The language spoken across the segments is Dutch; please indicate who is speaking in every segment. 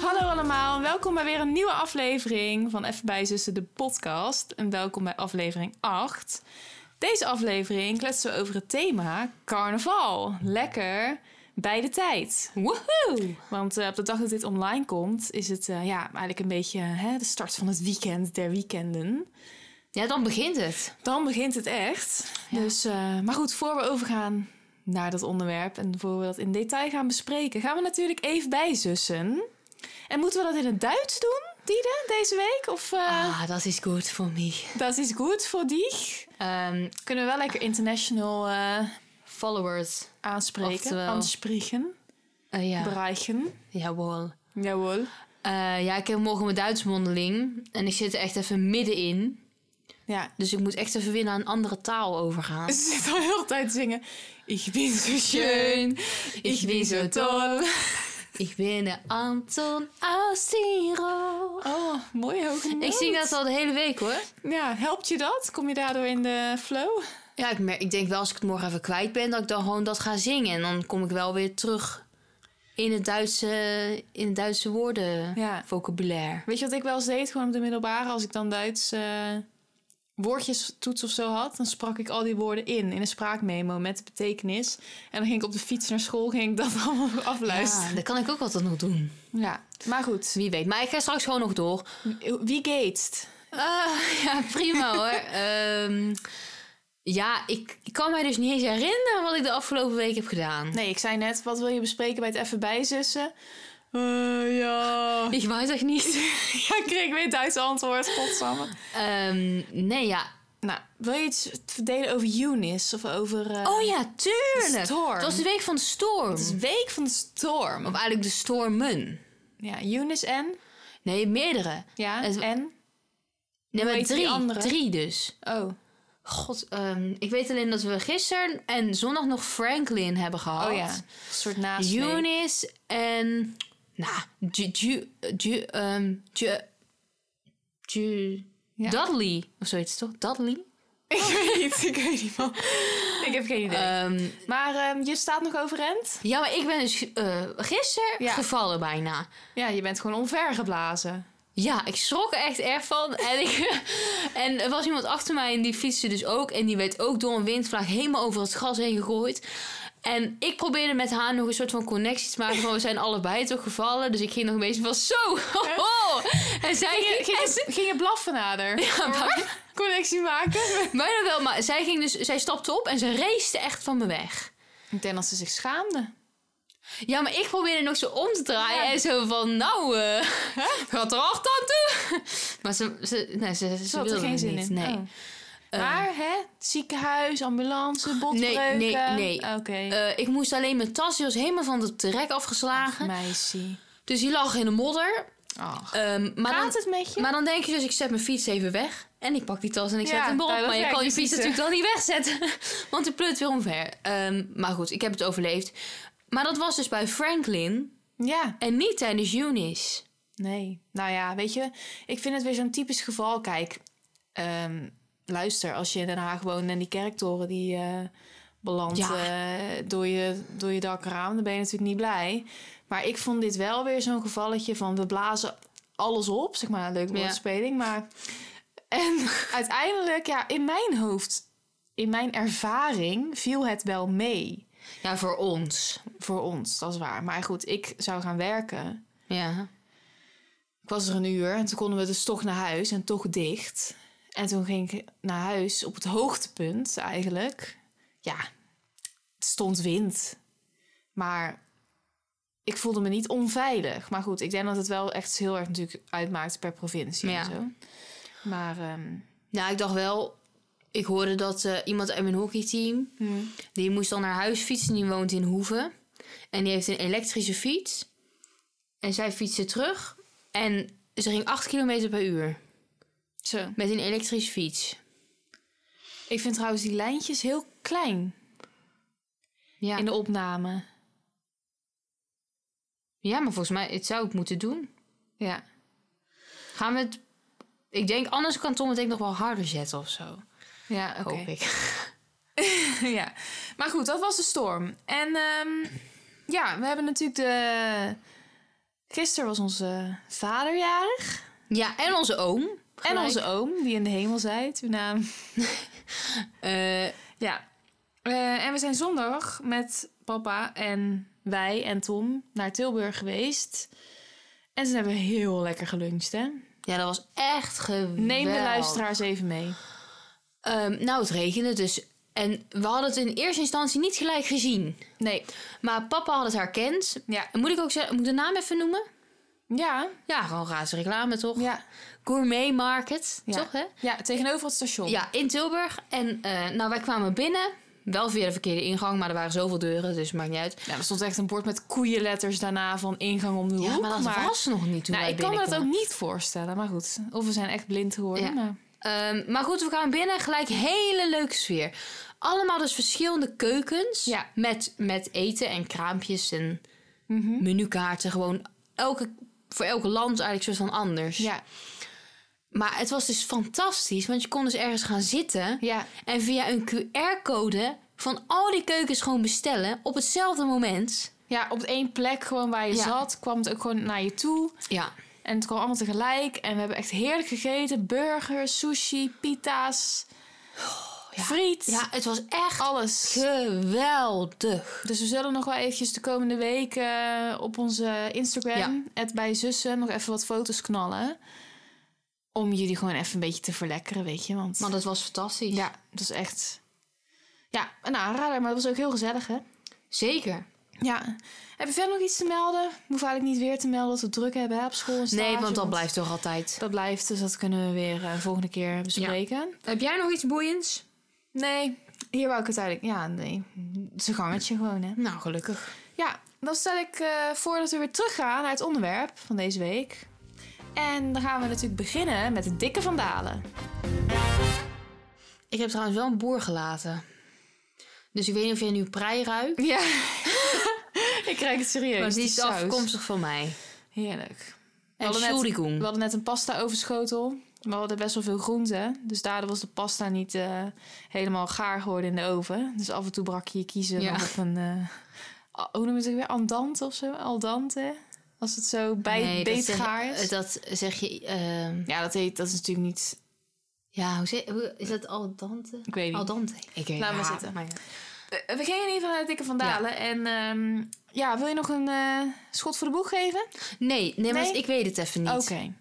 Speaker 1: Hallo allemaal, en welkom bij weer een nieuwe aflevering van Even bij Zussen, de podcast. En welkom bij aflevering 8. Deze aflevering kletsen we over het thema carnaval. Lekker bij de tijd.
Speaker 2: Woehoe!
Speaker 1: Want eh, op de dag dat dit online komt, is het eh, ja, eigenlijk een beetje hè, de start van het weekend der weekenden.
Speaker 2: Ja, dan begint het.
Speaker 1: Dan begint het echt.
Speaker 2: Ja.
Speaker 1: Dus, eh, maar goed, voor we overgaan naar dat onderwerp en voor we dat in detail gaan bespreken, gaan we natuurlijk even bijzussen. En moeten we dat in het Duits doen, Diede, deze week? Of eh,
Speaker 2: Ah, dat is goed voor mij.
Speaker 1: dat is goed voor dich?
Speaker 2: Ehm,
Speaker 1: Kunnen we wel lekker international eh,
Speaker 2: followers.
Speaker 1: aanspreken,
Speaker 2: Oftewel.
Speaker 1: aanspreken,
Speaker 2: Eh, ja,
Speaker 1: bereiken.
Speaker 2: jawel.
Speaker 1: Jawel.
Speaker 2: Eh, ja, ik heb morgen mijn Duits mondeling. En ik zit er echt even middenin.
Speaker 1: Ja.
Speaker 2: Dus ik moet echt even weer naar een andere taal overgaan.
Speaker 1: Ze zit al heel de tijd te zingen. Ik ben zo schön, ik ben zo toll.
Speaker 2: Ik ben de Anton Asiro.
Speaker 1: Oh, mooi hoog.
Speaker 2: Ik zing dat al de hele week hoor.
Speaker 1: Ja, helpt je dat? Kom je daardoor in de flow?
Speaker 2: Ja, ik, merk, ik denk wel als ik het morgen even kwijt ben, dat ik dan gewoon dat ga zingen. En dan kom ik wel weer terug in het Duitse, in het Duitse woorden
Speaker 1: Ja.
Speaker 2: vocabulaire.
Speaker 1: Weet je wat ik wel eens deed, gewoon op de middelbare, als ik dan Duits eh, woordjes toets of zo had, dan sprak ik al die woorden in, in een spraakmemo met de betekenis. En dan ging ik op de fiets naar school, ging ik dat allemaal
Speaker 2: Ja,
Speaker 1: afluisteren.
Speaker 2: dat kan ik ook altijd nog doen.
Speaker 1: Ja, maar goed.
Speaker 2: Wie weet. Maar ik ga straks gewoon nog door.
Speaker 1: Wie geest?
Speaker 2: Ah, ja, prima hoor. Ehm, ja, ik, ik kan mij dus niet eens herinneren wat ik de afgelopen week heb gedaan.
Speaker 1: Nee, ik zei net, wat wil je bespreken bij het even bijzussen? Eh, ja.
Speaker 2: Ik weet echt niet.
Speaker 1: ja, ik kreeg weer Duits antwoord, godsamme.
Speaker 2: Ehm, nee, ja.
Speaker 1: Nou, wil je iets verdelen over Eunice of over... eh,
Speaker 2: Oh ja, tuurlijk.
Speaker 1: storm.
Speaker 2: Het was de week van de storm.
Speaker 1: Het is Week van de Storm.
Speaker 2: Of eigenlijk de stormen.
Speaker 1: Ja, Eunice en...
Speaker 2: Nee, meerdere.
Speaker 1: Ja,
Speaker 2: Het-
Speaker 1: en...
Speaker 2: Nee,
Speaker 1: Hoe
Speaker 2: maar
Speaker 1: heet die
Speaker 2: drie.
Speaker 1: andere?
Speaker 2: Drie dus.
Speaker 1: Oh,
Speaker 2: God, ehm, ik weet alleen dat we gisteren en zondag nog Franklin hebben gehad.
Speaker 1: oh ja. Een soort naast.
Speaker 2: Eunice en... Nou, Ju... Ju... Ju... ehm, Ju... Ju-
Speaker 1: Ja.
Speaker 2: Dudley. Of zoiets, toch? Dudley?
Speaker 1: Ik weet niet, Oh, ik weet niet man. Ik heb geen idee.
Speaker 2: Ehm,
Speaker 1: maar ehm, je staat nog overeind?
Speaker 2: ja, maar ik ben dus eh gisteren
Speaker 1: Ja.
Speaker 2: gevallen bijna.
Speaker 1: Ja, je bent gewoon omvergeblazen.
Speaker 2: Ja, ik schrok er echt erg van. En, ik, en er was iemand achter mij en die fietste dus ook. En die werd ook door een windvlaag helemaal over het gras heen gegooid. En ik probeerde met haar nog een soort van connectie te maken. Van we zijn allebei toch gevallen. Dus ik ging nog een beetje van zo. hoho. En zij
Speaker 1: Ging je,
Speaker 2: ging,
Speaker 1: ging je, ging je blaffen nader?
Speaker 2: Ja, maar-
Speaker 1: Connectie maken?
Speaker 2: bijna wel. Maar zij, ging dus, zij stapte op en ze race echt van me weg.
Speaker 1: Ik denk dat ze zich schaamde.
Speaker 2: Ja, maar ik probeerde nog zo om te draaien.
Speaker 1: Ja.
Speaker 2: En zo van nou, eh, gaat er hard aan toe. Maar ze, ze, nee, ze, ze,
Speaker 1: Ze had er
Speaker 2: wilde
Speaker 1: geen zin
Speaker 2: niet.
Speaker 1: in.
Speaker 2: Nee.
Speaker 1: Oh. maar hè, het ziekenhuis, ambulance, botbreuken.
Speaker 2: nee, nee.
Speaker 1: Oké.
Speaker 2: Eh, ik moest alleen mijn tas, die was helemaal van het trek afgeslagen.
Speaker 1: Meisje.
Speaker 2: Dus die lag in de modder.
Speaker 1: Ach.
Speaker 2: Ehm, maar,
Speaker 1: Gaat
Speaker 2: dan,
Speaker 1: het met je?
Speaker 2: maar dan denk je dus, ik zet mijn fiets even weg. En ik pak die tas en ik
Speaker 1: Ja,
Speaker 2: zet hem
Speaker 1: nou,
Speaker 2: erop.
Speaker 1: dat
Speaker 2: Maar je
Speaker 1: werkt
Speaker 2: kan je
Speaker 1: dus
Speaker 2: fiets
Speaker 1: niet,
Speaker 2: natuurlijk dan niet wegzetten. Want die pleurt weer omver. Ehm, maar goed, ik heb het overleefd. Maar dat was dus bij Franklin
Speaker 1: Ja.
Speaker 2: en niet tijdens Eunice.
Speaker 1: Nee. Nou ja, weet je, ik vind het weer zo'n typisch geval. Kijk, ehm, luister, als je in Den Haag woont en die kerktoren die eh belandt
Speaker 2: Ja.
Speaker 1: eh, door, je, door je dakraam, dan ben je natuurlijk niet blij. Maar ik vond dit wel weer zo'n gevalletje van we blazen alles op, zeg maar, leuk
Speaker 2: Ja.
Speaker 1: woordspeling. Maar en uiteindelijk, ja, in mijn hoofd, in mijn ervaring, viel het wel mee
Speaker 2: Ja, voor ons.
Speaker 1: voor ons, dat is waar. Maar goed, ik zou gaan werken.
Speaker 2: Ja.
Speaker 1: Ik was er een uur en toen konden we dus toch naar huis en toch dicht. En toen ging ik naar huis op het hoogtepunt eigenlijk. Ja, het stond wind. Maar ik voelde me niet onveilig. Maar goed, ik denk dat het wel echt heel erg natuurlijk uitmaakt per provincie
Speaker 2: Ja.
Speaker 1: en zo. Maar ehm,
Speaker 2: Nou, ik dacht wel... Ik Hmm. hoorde dat eh, iemand uit mijn hockeyteam... Die moest dan naar huis fietsen. Die woont in Hoeven. En die heeft een elektrische fiets. En zij fietste terug. En ze ging 8 kilometer per uur.
Speaker 1: Zo.
Speaker 2: Met een elektrische fiets.
Speaker 1: Ik vind trouwens die lijntjes heel klein
Speaker 2: Ja,
Speaker 1: in de opname.
Speaker 2: ja maar volgens mij het zou ik moeten doen.
Speaker 1: Ja.
Speaker 2: Gaan we het... Ik denk, anders kan Tom het denk ik nog wel harder zetten of zo.
Speaker 1: Ja, oké.
Speaker 2: Hoop ik.
Speaker 1: ja. Maar goed, dat was de storm. En ehm, ja, we hebben natuurlijk de... Gisteren was onze vader jarig.
Speaker 2: Ja, en onze oom.
Speaker 1: En
Speaker 2: Gelijk.
Speaker 1: onze oom, die in de hemel zei toen naam.
Speaker 2: Eh,
Speaker 1: Ja. Eh, en we zijn zondag met papa en wij en Tom naar Tilburg geweest. En ze hebben we heel lekker geluncht, hè?
Speaker 2: ja, dat was echt geweldig.
Speaker 1: Neem de luisteraars even mee.
Speaker 2: Ehm, nou, het regende dus. En we hadden het in eerste instantie niet gelijk gezien.
Speaker 1: Nee.
Speaker 2: Maar papa had het herkend.
Speaker 1: Ja.
Speaker 2: Moet ik ook zeggen, moet ik de naam even noemen?
Speaker 1: Ja.
Speaker 2: Ja, gewoon raadse reclame toch?
Speaker 1: Ja.
Speaker 2: Gourmet Market,
Speaker 1: Ja.
Speaker 2: toch hè?
Speaker 1: Ja, tegenover het station.
Speaker 2: Ja, in Tilburg. En eh, nou, wij kwamen binnen. Wel via de verkeerde ingang, maar er waren zoveel deuren, dus maakt niet uit.
Speaker 1: Ja, er stond echt een bord met koeienletters daarna van ingang om de hoek.
Speaker 2: Ja, maar dat was nog niet toen
Speaker 1: Nou,
Speaker 2: wij
Speaker 1: ik kan me dat ook
Speaker 2: binnenkwamen.
Speaker 1: niet voorstellen, maar goed. Of we zijn echt blind geworden.
Speaker 2: Ja.
Speaker 1: Maar...
Speaker 2: Ehm, maar goed, we kwamen binnen. Gelijk hele leuke sfeer. Allemaal dus verschillende keukens.
Speaker 1: Ja.
Speaker 2: Met, met eten en kraampjes en
Speaker 1: mhm.
Speaker 2: Hm? menukaarten. Gewoon elke, voor elk land eigenlijk soort van anders.
Speaker 1: Ja.
Speaker 2: Maar het was dus fantastisch. Want je kon dus ergens gaan zitten.
Speaker 1: Ja.
Speaker 2: En via een QR-code van al die keukens gewoon bestellen. Op hetzelfde moment.
Speaker 1: ja, op één plek gewoon waar je
Speaker 2: Ja.
Speaker 1: zat, kwam het ook gewoon naar je toe.
Speaker 2: Ja.
Speaker 1: En het kwam allemaal tegelijk. En we hebben echt heerlijk gegeten. Burgers, sushi, pita's, friet,
Speaker 2: Oh, Ja, het was echt
Speaker 1: alles.
Speaker 2: geweldig.
Speaker 1: dus we zullen nog wel eventjes de komende weken eh, op onze Instagram, het bij zussen, nog even wat foto's knallen. Om jullie gewoon even een beetje te verlekkeren, weet je. Want
Speaker 2: Maar dat was fantastisch.
Speaker 1: ja, dat is echt... Ja, een aanrader, maar dat was ook heel gezellig, hè?
Speaker 2: Zeker.
Speaker 1: Ja. Heb je verder nog iets te melden? We hoeven eigenlijk niet weer te melden dat we het druk hebben hè, op school en stage,
Speaker 2: Nee, want dat blijft toch altijd.
Speaker 1: Dat blijft, dus dat kunnen we weer eh, volgende keer bespreken.
Speaker 2: Heb jij nog iets boeiends?
Speaker 1: Nee, hier wou ik het eigenlijk... Ja, nee. Het is een gangetje gewoon, hè.
Speaker 2: Nou, gelukkig.
Speaker 1: Ja, dan stel ik eh, voor dat we weer teruggaan naar het onderwerp van deze week. En dan gaan we natuurlijk beginnen met de dikke vandalen.
Speaker 2: Ik heb trouwens wel een boer gelaten. Dus ik weet niet of jij nu prei ruikt.
Speaker 1: Ja. ik krijg het serieus.
Speaker 2: Maar die is
Speaker 1: saus.
Speaker 2: afkomstig van mij.
Speaker 1: Heerlijk. We
Speaker 2: En
Speaker 1: hadden, net,
Speaker 2: Shurigoen.
Speaker 1: we hadden net een pasta overschotel. We hadden best wel veel groenten. Dus daardoor was de pasta niet eh, helemaal gaar geworden in de oven. Dus af en toe brak je je kiezen
Speaker 2: Ja.
Speaker 1: op een... eh, a- hoe noem je het ook weer? Andante of zo? Aldante? Als het zo bij
Speaker 2: Nee, dat zeg-
Speaker 1: beetgaar is.
Speaker 2: eh, Dat zeg je... ehm,
Speaker 1: Ja, dat, heet, dat is natuurlijk niet...
Speaker 2: ja, hoe zeg hoe- Is dat al dante?
Speaker 1: Ik weet niet.
Speaker 2: Al dante. Ik weet
Speaker 1: Laat
Speaker 2: ja,
Speaker 1: maar zitten.
Speaker 2: maar ja.
Speaker 1: We we gingen in ieder geval naar de dikke vandalen. En ehm, ja, wil je nog een eh, schot voor de boeg geven?
Speaker 2: Nee, nee, maar
Speaker 1: Nee?
Speaker 2: ik weet het even niet.
Speaker 1: Oké.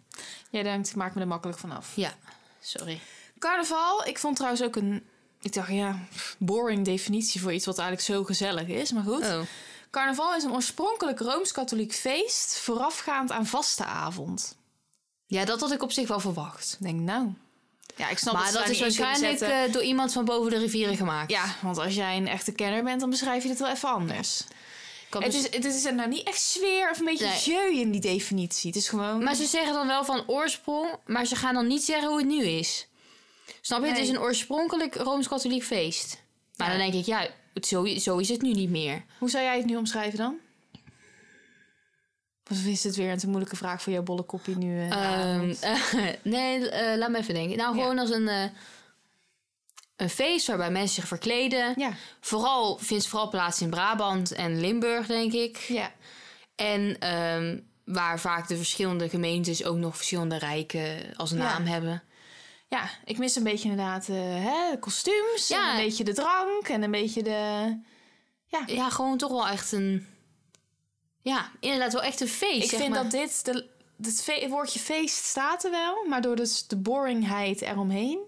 Speaker 1: Jij denkt, ik maak me er makkelijk vanaf.
Speaker 2: Ja, sorry.
Speaker 1: Carnaval, ik vond trouwens ook een... Ik dacht, ja, boring definitie voor iets wat eigenlijk zo gezellig is. Maar goed.
Speaker 2: Oh.
Speaker 1: Carnaval is een oorspronkelijk Rooms-Katholiek feest... voorafgaand aan vaste avond.
Speaker 2: Ja, dat had ik op zich wel verwacht.
Speaker 1: Ik denk, nou... Ja, ik snap
Speaker 2: maar dat
Speaker 1: ze
Speaker 2: is
Speaker 1: daar niet in kunnen
Speaker 2: waarschijnlijk
Speaker 1: zetten.
Speaker 2: eh, door iemand van boven de rivieren gemaakt.
Speaker 1: Ja, want als jij een echte kenner bent, dan beschrijf je het wel even anders.
Speaker 2: Ik had
Speaker 1: Het
Speaker 2: dus-
Speaker 1: is, het is er nou niet echt sfeer of een beetje
Speaker 2: Nee.
Speaker 1: jeu in die definitie. Het is gewoon...
Speaker 2: Maar ze zeggen dan wel van oorsprong, maar ze gaan dan niet zeggen hoe het nu is. Snap je? Het
Speaker 1: Nee.
Speaker 2: is een oorspronkelijk rooms-katholiek feest. Maar
Speaker 1: Ja.
Speaker 2: dan denk ik, ja, het- zo, zo is het nu niet meer.
Speaker 1: Hoe zou jij het nu omschrijven dan? Of is het weer een te moeilijke vraag voor jouw bolle kopje nu? eh,
Speaker 2: Ehm,
Speaker 1: avond?
Speaker 2: nee, eh, laat me even denken. Nou,
Speaker 1: Ja.
Speaker 2: gewoon als een, eh, een feest waarbij mensen zich verkleden.
Speaker 1: ja.
Speaker 2: Vooral vindt vooral plaats in Brabant en Limburg, denk ik.
Speaker 1: ja.
Speaker 2: En ehm, waar vaak de verschillende gemeentes ook nog verschillende rijken als naam hebben.
Speaker 1: Ja, ik mis een beetje inderdaad eh, hè, de kostuums.
Speaker 2: Ja.
Speaker 1: En een beetje de drank en een beetje de...
Speaker 2: Ja, gewoon toch wel echt een. Ja, inderdaad, wel echt een feest.
Speaker 1: Ik
Speaker 2: zeg
Speaker 1: vind
Speaker 2: maar.
Speaker 1: dat dit... De, het fe- woordje feest staat er wel, maar door dus de boringheid eromheen...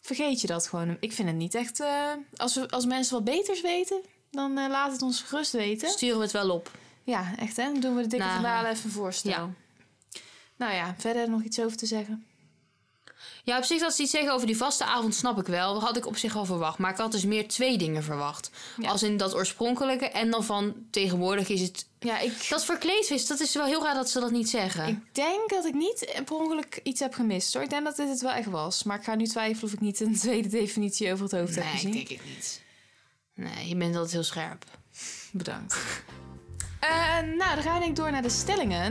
Speaker 1: Vergeet je dat gewoon. Ik vind het niet echt... eh, als, we, als mensen wat beters weten, dan eh, laat het ons gerust weten.
Speaker 2: Sturen we het wel op.
Speaker 1: Ja, echt hè? Dan doen we de dikke
Speaker 2: Nou,
Speaker 1: vandalen even een voorstel. Nou ja, verder nog iets over te zeggen?
Speaker 2: Ja, op zich dat ze iets zeggen over die vaste avond snap ik wel. Dat had ik op zich al verwacht. Maar ik had dus meer twee dingen verwacht.
Speaker 1: Ja.
Speaker 2: Als in dat oorspronkelijke en dan van tegenwoordig is het...
Speaker 1: Ja, ik,
Speaker 2: Dat verkleedfeest, dat is wel heel raar dat ze dat niet zeggen.
Speaker 1: ik denk dat ik niet eh, per ongeluk iets heb gemist hoor. Ik denk dat dit het wel echt was. Maar ik ga nu twijfelen of ik niet een tweede definitie over het hoofd heb gezien.
Speaker 2: het niet. Nee, je bent altijd heel scherp.
Speaker 1: Bedankt. Eh, nou, dan ga ik door naar de stellingen.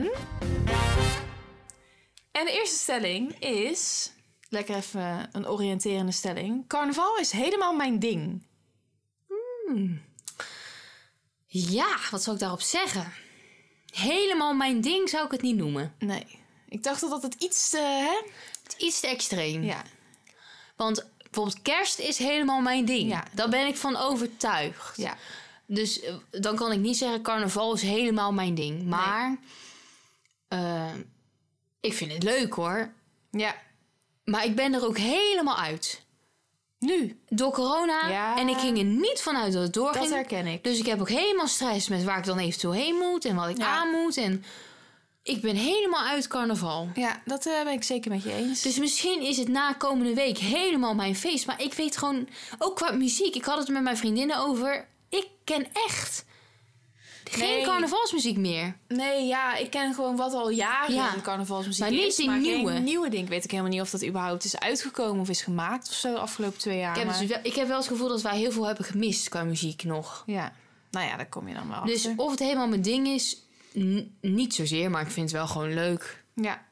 Speaker 1: En de eerste stelling is... Lekker even een oriënterende stelling. Carnaval is helemaal mijn ding.
Speaker 2: Ja, wat zou ik daarop zeggen? Helemaal mijn ding zou ik het niet noemen.
Speaker 1: Nee. Ik dacht dat het iets te... Hè?
Speaker 2: Het is iets te extreem.
Speaker 1: Ja.
Speaker 2: Want bijvoorbeeld kerst is helemaal mijn ding.
Speaker 1: Ja.
Speaker 2: Daar ben ik van overtuigd.
Speaker 1: ja.
Speaker 2: Dus eh, dan kan ik niet zeggen carnaval is helemaal mijn ding. Maar eh, ik vind het leuk hoor.
Speaker 1: Ja.
Speaker 2: Maar ik ben er ook helemaal uit.
Speaker 1: Nu.
Speaker 2: Door corona.
Speaker 1: Ja.
Speaker 2: En ik ging er niet vanuit dat het doorging.
Speaker 1: Dat herken ik.
Speaker 2: Dus ik heb ook helemaal stress met waar ik dan eventueel heen moet en wat ik
Speaker 1: Ja.
Speaker 2: aan moet. En ik ben helemaal uit carnaval.
Speaker 1: Ja, dat eh, ben ik zeker met je eens.
Speaker 2: Dus misschien is het na komende week helemaal mijn feest. Maar ik weet gewoon, ook qua muziek, ik had het met mijn vriendinnen over. Ik ken echt geen
Speaker 1: Nee.
Speaker 2: carnavalsmuziek meer.
Speaker 1: Nee, ja, ik ken gewoon wat al jaren
Speaker 2: Ja.
Speaker 1: in carnavalsmuziek
Speaker 2: Maar niet
Speaker 1: is.
Speaker 2: die
Speaker 1: maar
Speaker 2: nieuwe.
Speaker 1: Geen nieuwe ding. Ik weet ik helemaal niet of dat überhaupt is uitgekomen of is gemaakt of zo de afgelopen twee jaar.
Speaker 2: ik, heb
Speaker 1: maar-
Speaker 2: dus wel, ik heb wel het gevoel dat wij heel veel hebben gemist qua muziek nog.
Speaker 1: Ja. Nou ja, daar kom je dan wel
Speaker 2: Dus
Speaker 1: achter.
Speaker 2: of het helemaal mijn ding is, n- niet zozeer. Maar ik vind het wel gewoon leuk.
Speaker 1: Ja.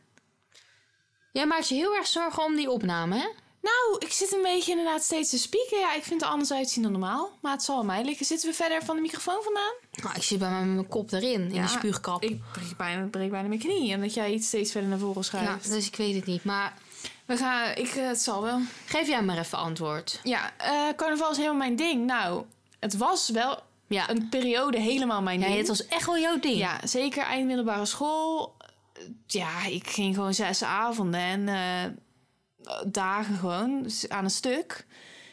Speaker 2: Jij maakt je heel erg zorgen om die opname, hè?
Speaker 1: Nou, ik zit een beetje inderdaad steeds te spieken. Ja, ik vind het er anders uitzien dan normaal. Maar het zal aan mij liggen. Zitten we verder van de microfoon vandaan?
Speaker 2: Nou, ik zit bij mij met mijn kop erin, in
Speaker 1: Ja,
Speaker 2: die spuugkap.
Speaker 1: Ik breek bijna, breek bijna mijn knie. Omdat jij iets steeds verder naar voren
Speaker 2: ja,
Speaker 1: schuift.
Speaker 2: dus ik weet het niet. Maar
Speaker 1: We gaan... Ik, eh, het zal wel.
Speaker 2: geef jij maar even antwoord.
Speaker 1: Ja, eh, carnaval is helemaal mijn ding. Nou, het was wel
Speaker 2: Ja,
Speaker 1: een periode helemaal mijn
Speaker 2: ja
Speaker 1: ding.
Speaker 2: dit was echt wel jouw ding.
Speaker 1: Ja, zeker eind middelbare school. Eh, Ja, ik ging gewoon zes avonden en eh, dagen gewoon dus aan een stuk.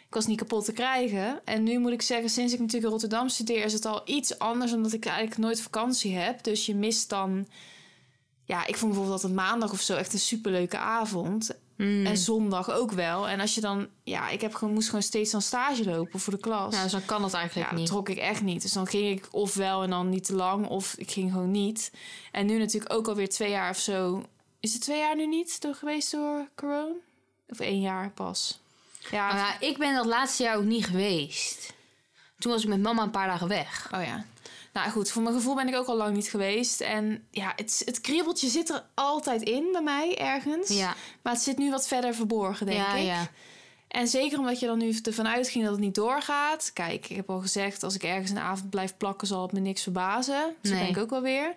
Speaker 1: Ik was niet kapot te krijgen. En nu moet ik zeggen, sinds ik natuurlijk in Rotterdam studeer, is het al iets anders, omdat ik eigenlijk nooit vakantie heb. Dus je mist dan. Ja, ik vond bijvoorbeeld dat het maandag of zo echt een superleuke avond.
Speaker 2: Mm.
Speaker 1: En zondag ook wel. En als je dan, ja, ik heb gewoon, moest gewoon steeds aan stage lopen voor de klas.
Speaker 2: Nou, dus dan kan dat eigenlijk
Speaker 1: Ja, dat
Speaker 2: niet.
Speaker 1: trok ik echt niet. Dus dan ging ik of wel en dan niet te lang, of ik ging gewoon niet. En nu natuurlijk ook alweer twee jaar of zo. Is het twee jaar nu niet door geweest door corona? Of één jaar pas? Ja.
Speaker 2: Maar ja, ik ben dat laatste jaar ook niet geweest. Toen was ik met mama een paar dagen weg.
Speaker 1: Oh ja. Nou goed, voor mijn gevoel ben ik ook al lang niet geweest. En ja, het, het kriebeltje zit er altijd in bij mij ergens.
Speaker 2: Ja,
Speaker 1: Maar het zit nu wat verder verborgen, denk
Speaker 2: ja,
Speaker 1: ik.
Speaker 2: ja.
Speaker 1: En zeker omdat je dan nu ervan uitging dat het niet doorgaat. Kijk, ik heb al gezegd, als ik ergens een avond blijf plakken, zal het me niks verbazen. Zo
Speaker 2: Nee.
Speaker 1: ben ik ook wel weer.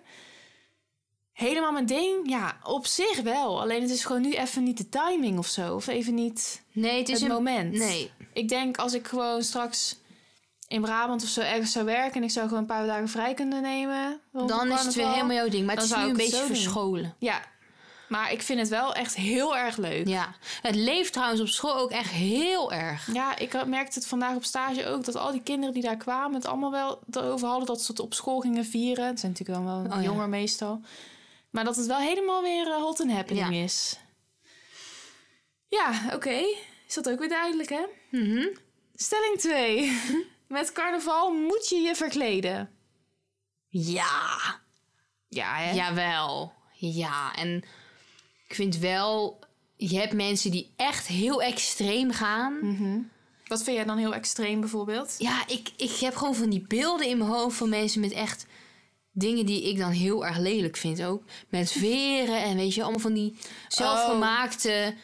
Speaker 1: Helemaal mijn ding, ja, op zich wel. Alleen het is gewoon nu even niet de timing of zo. Of even niet
Speaker 2: Nee, het is
Speaker 1: het
Speaker 2: een...
Speaker 1: moment.
Speaker 2: Nee,
Speaker 1: Ik denk als ik gewoon straks in Brabant of zo ergens zou werken... en ik zou gewoon een paar dagen vrij kunnen nemen. rond
Speaker 2: dan is het weer
Speaker 1: carnaval.
Speaker 2: helemaal jouw ding. Maar het
Speaker 1: Dan
Speaker 2: is
Speaker 1: zou
Speaker 2: nu een
Speaker 1: ik het
Speaker 2: beetje
Speaker 1: zo doen.
Speaker 2: verscholen.
Speaker 1: Ja, maar ik vind het wel echt heel erg leuk.
Speaker 2: Ja. Het leeft trouwens op school ook echt heel erg.
Speaker 1: Ja, ik had- merkte het vandaag op stage ook dat al die kinderen die daar kwamen het allemaal wel erover hadden dat ze het op school gingen vieren. Het zijn natuurlijk dan wel
Speaker 2: Oh ja.
Speaker 1: jonger meestal. Maar dat het wel helemaal weer eh, hot and happening is. Ja, oké. Is dat ook weer duidelijk, hè?
Speaker 2: Mhm.
Speaker 1: Stelling 2. Met carnaval moet je je verkleden.
Speaker 2: Ja.
Speaker 1: Ja, hè?
Speaker 2: Jawel. Ja, en ik vind wel... Je hebt mensen die echt heel extreem gaan.
Speaker 1: Mhm. Wat vind jij dan heel extreem bijvoorbeeld?
Speaker 2: Ja, ik, ik heb gewoon van die beelden in mijn hoofd van mensen met echt dingen die ik dan heel erg lelijk vind ook. Met veren en weet je, allemaal van die
Speaker 1: Oh.
Speaker 2: zelfgemaakte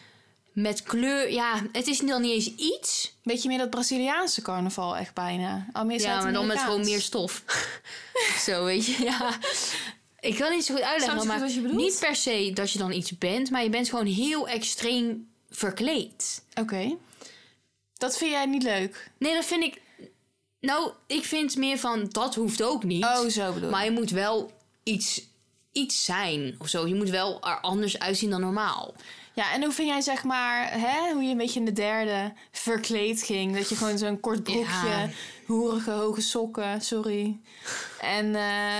Speaker 2: met kleur. Ja, het is dan niet eens iets.
Speaker 1: Beetje meer dat Braziliaanse carnaval echt bijna. Al meer
Speaker 2: ja, maar dan met
Speaker 1: Zuid-Amerikaans.
Speaker 2: gewoon meer stof. zo, weet je, ja. Ik kan niet zo goed uitleggen,
Speaker 1: Snap je
Speaker 2: maar
Speaker 1: goed wat je bedoelt?
Speaker 2: niet per se dat je dan iets bent, maar je bent gewoon heel extreem verkleed.
Speaker 1: Oké. Dat vind jij niet leuk?
Speaker 2: Nee, dat vind ik. Nou, ik vind meer van dat hoeft ook niet.
Speaker 1: Oh, zo bedoel
Speaker 2: Maar je moet wel iets, iets zijn of zo. Je moet wel er anders uitzien dan normaal.
Speaker 1: Ja, en hoe vind jij zeg maar, hè, hoe je een beetje in de derde verkleed ging? Dat je gewoon zo'n kort broekje,
Speaker 2: Ja.
Speaker 1: hoerige hoge sokken, sorry. En eh,